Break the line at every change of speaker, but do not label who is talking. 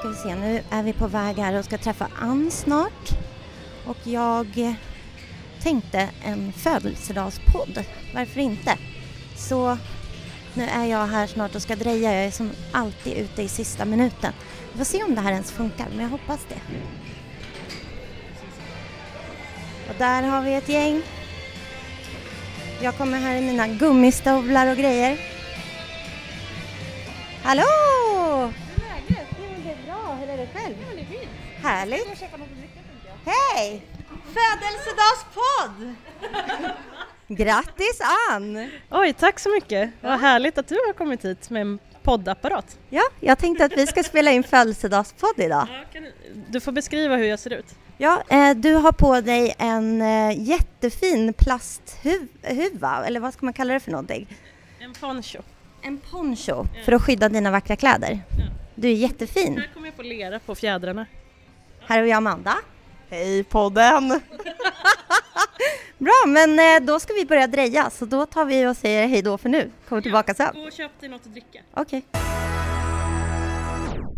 ska vi se, nu är vi på väg här och ska träffa Ann snart. Och jag tänkte en födelsedagspodd, varför inte? Så nu är jag här snart och ska dreja, jag är som alltid ute i sista minuten. Vi får se om det här ens funkar, men jag hoppas det. Och där har vi ett gäng. Jag kommer här i mina gummistövlar och grejer. Hallå!
Det är bra, hur är det själv? Ja, det är fint.
Härligt!
Jag köpa något att dricka tänkte jag.
Hej!
Födelsedagspodd!
Grattis Ann!
Oj, tack så mycket. Vad härligt att du har kommit hit med en poddapparat.
Ja, jag tänkte att vi ska spela in födelsedagspodd idag.
Du får beskriva hur jag ser ut.
Ja, eh, du har på dig en eh, jättefin plasthuva, eller vad ska man kalla det för någonting?
En poncho.
En poncho för att skydda dina vackra kläder. Du är jättefin.
Här kommer jag få lera på fjädrarna.
Här har vi Amanda.
Hej podden!
Bra, men eh, då ska vi börja dreja så då tar vi och säger hej då för nu. Kommer tillbaka sen.
Gå och köp dig något att dricka.
Okej.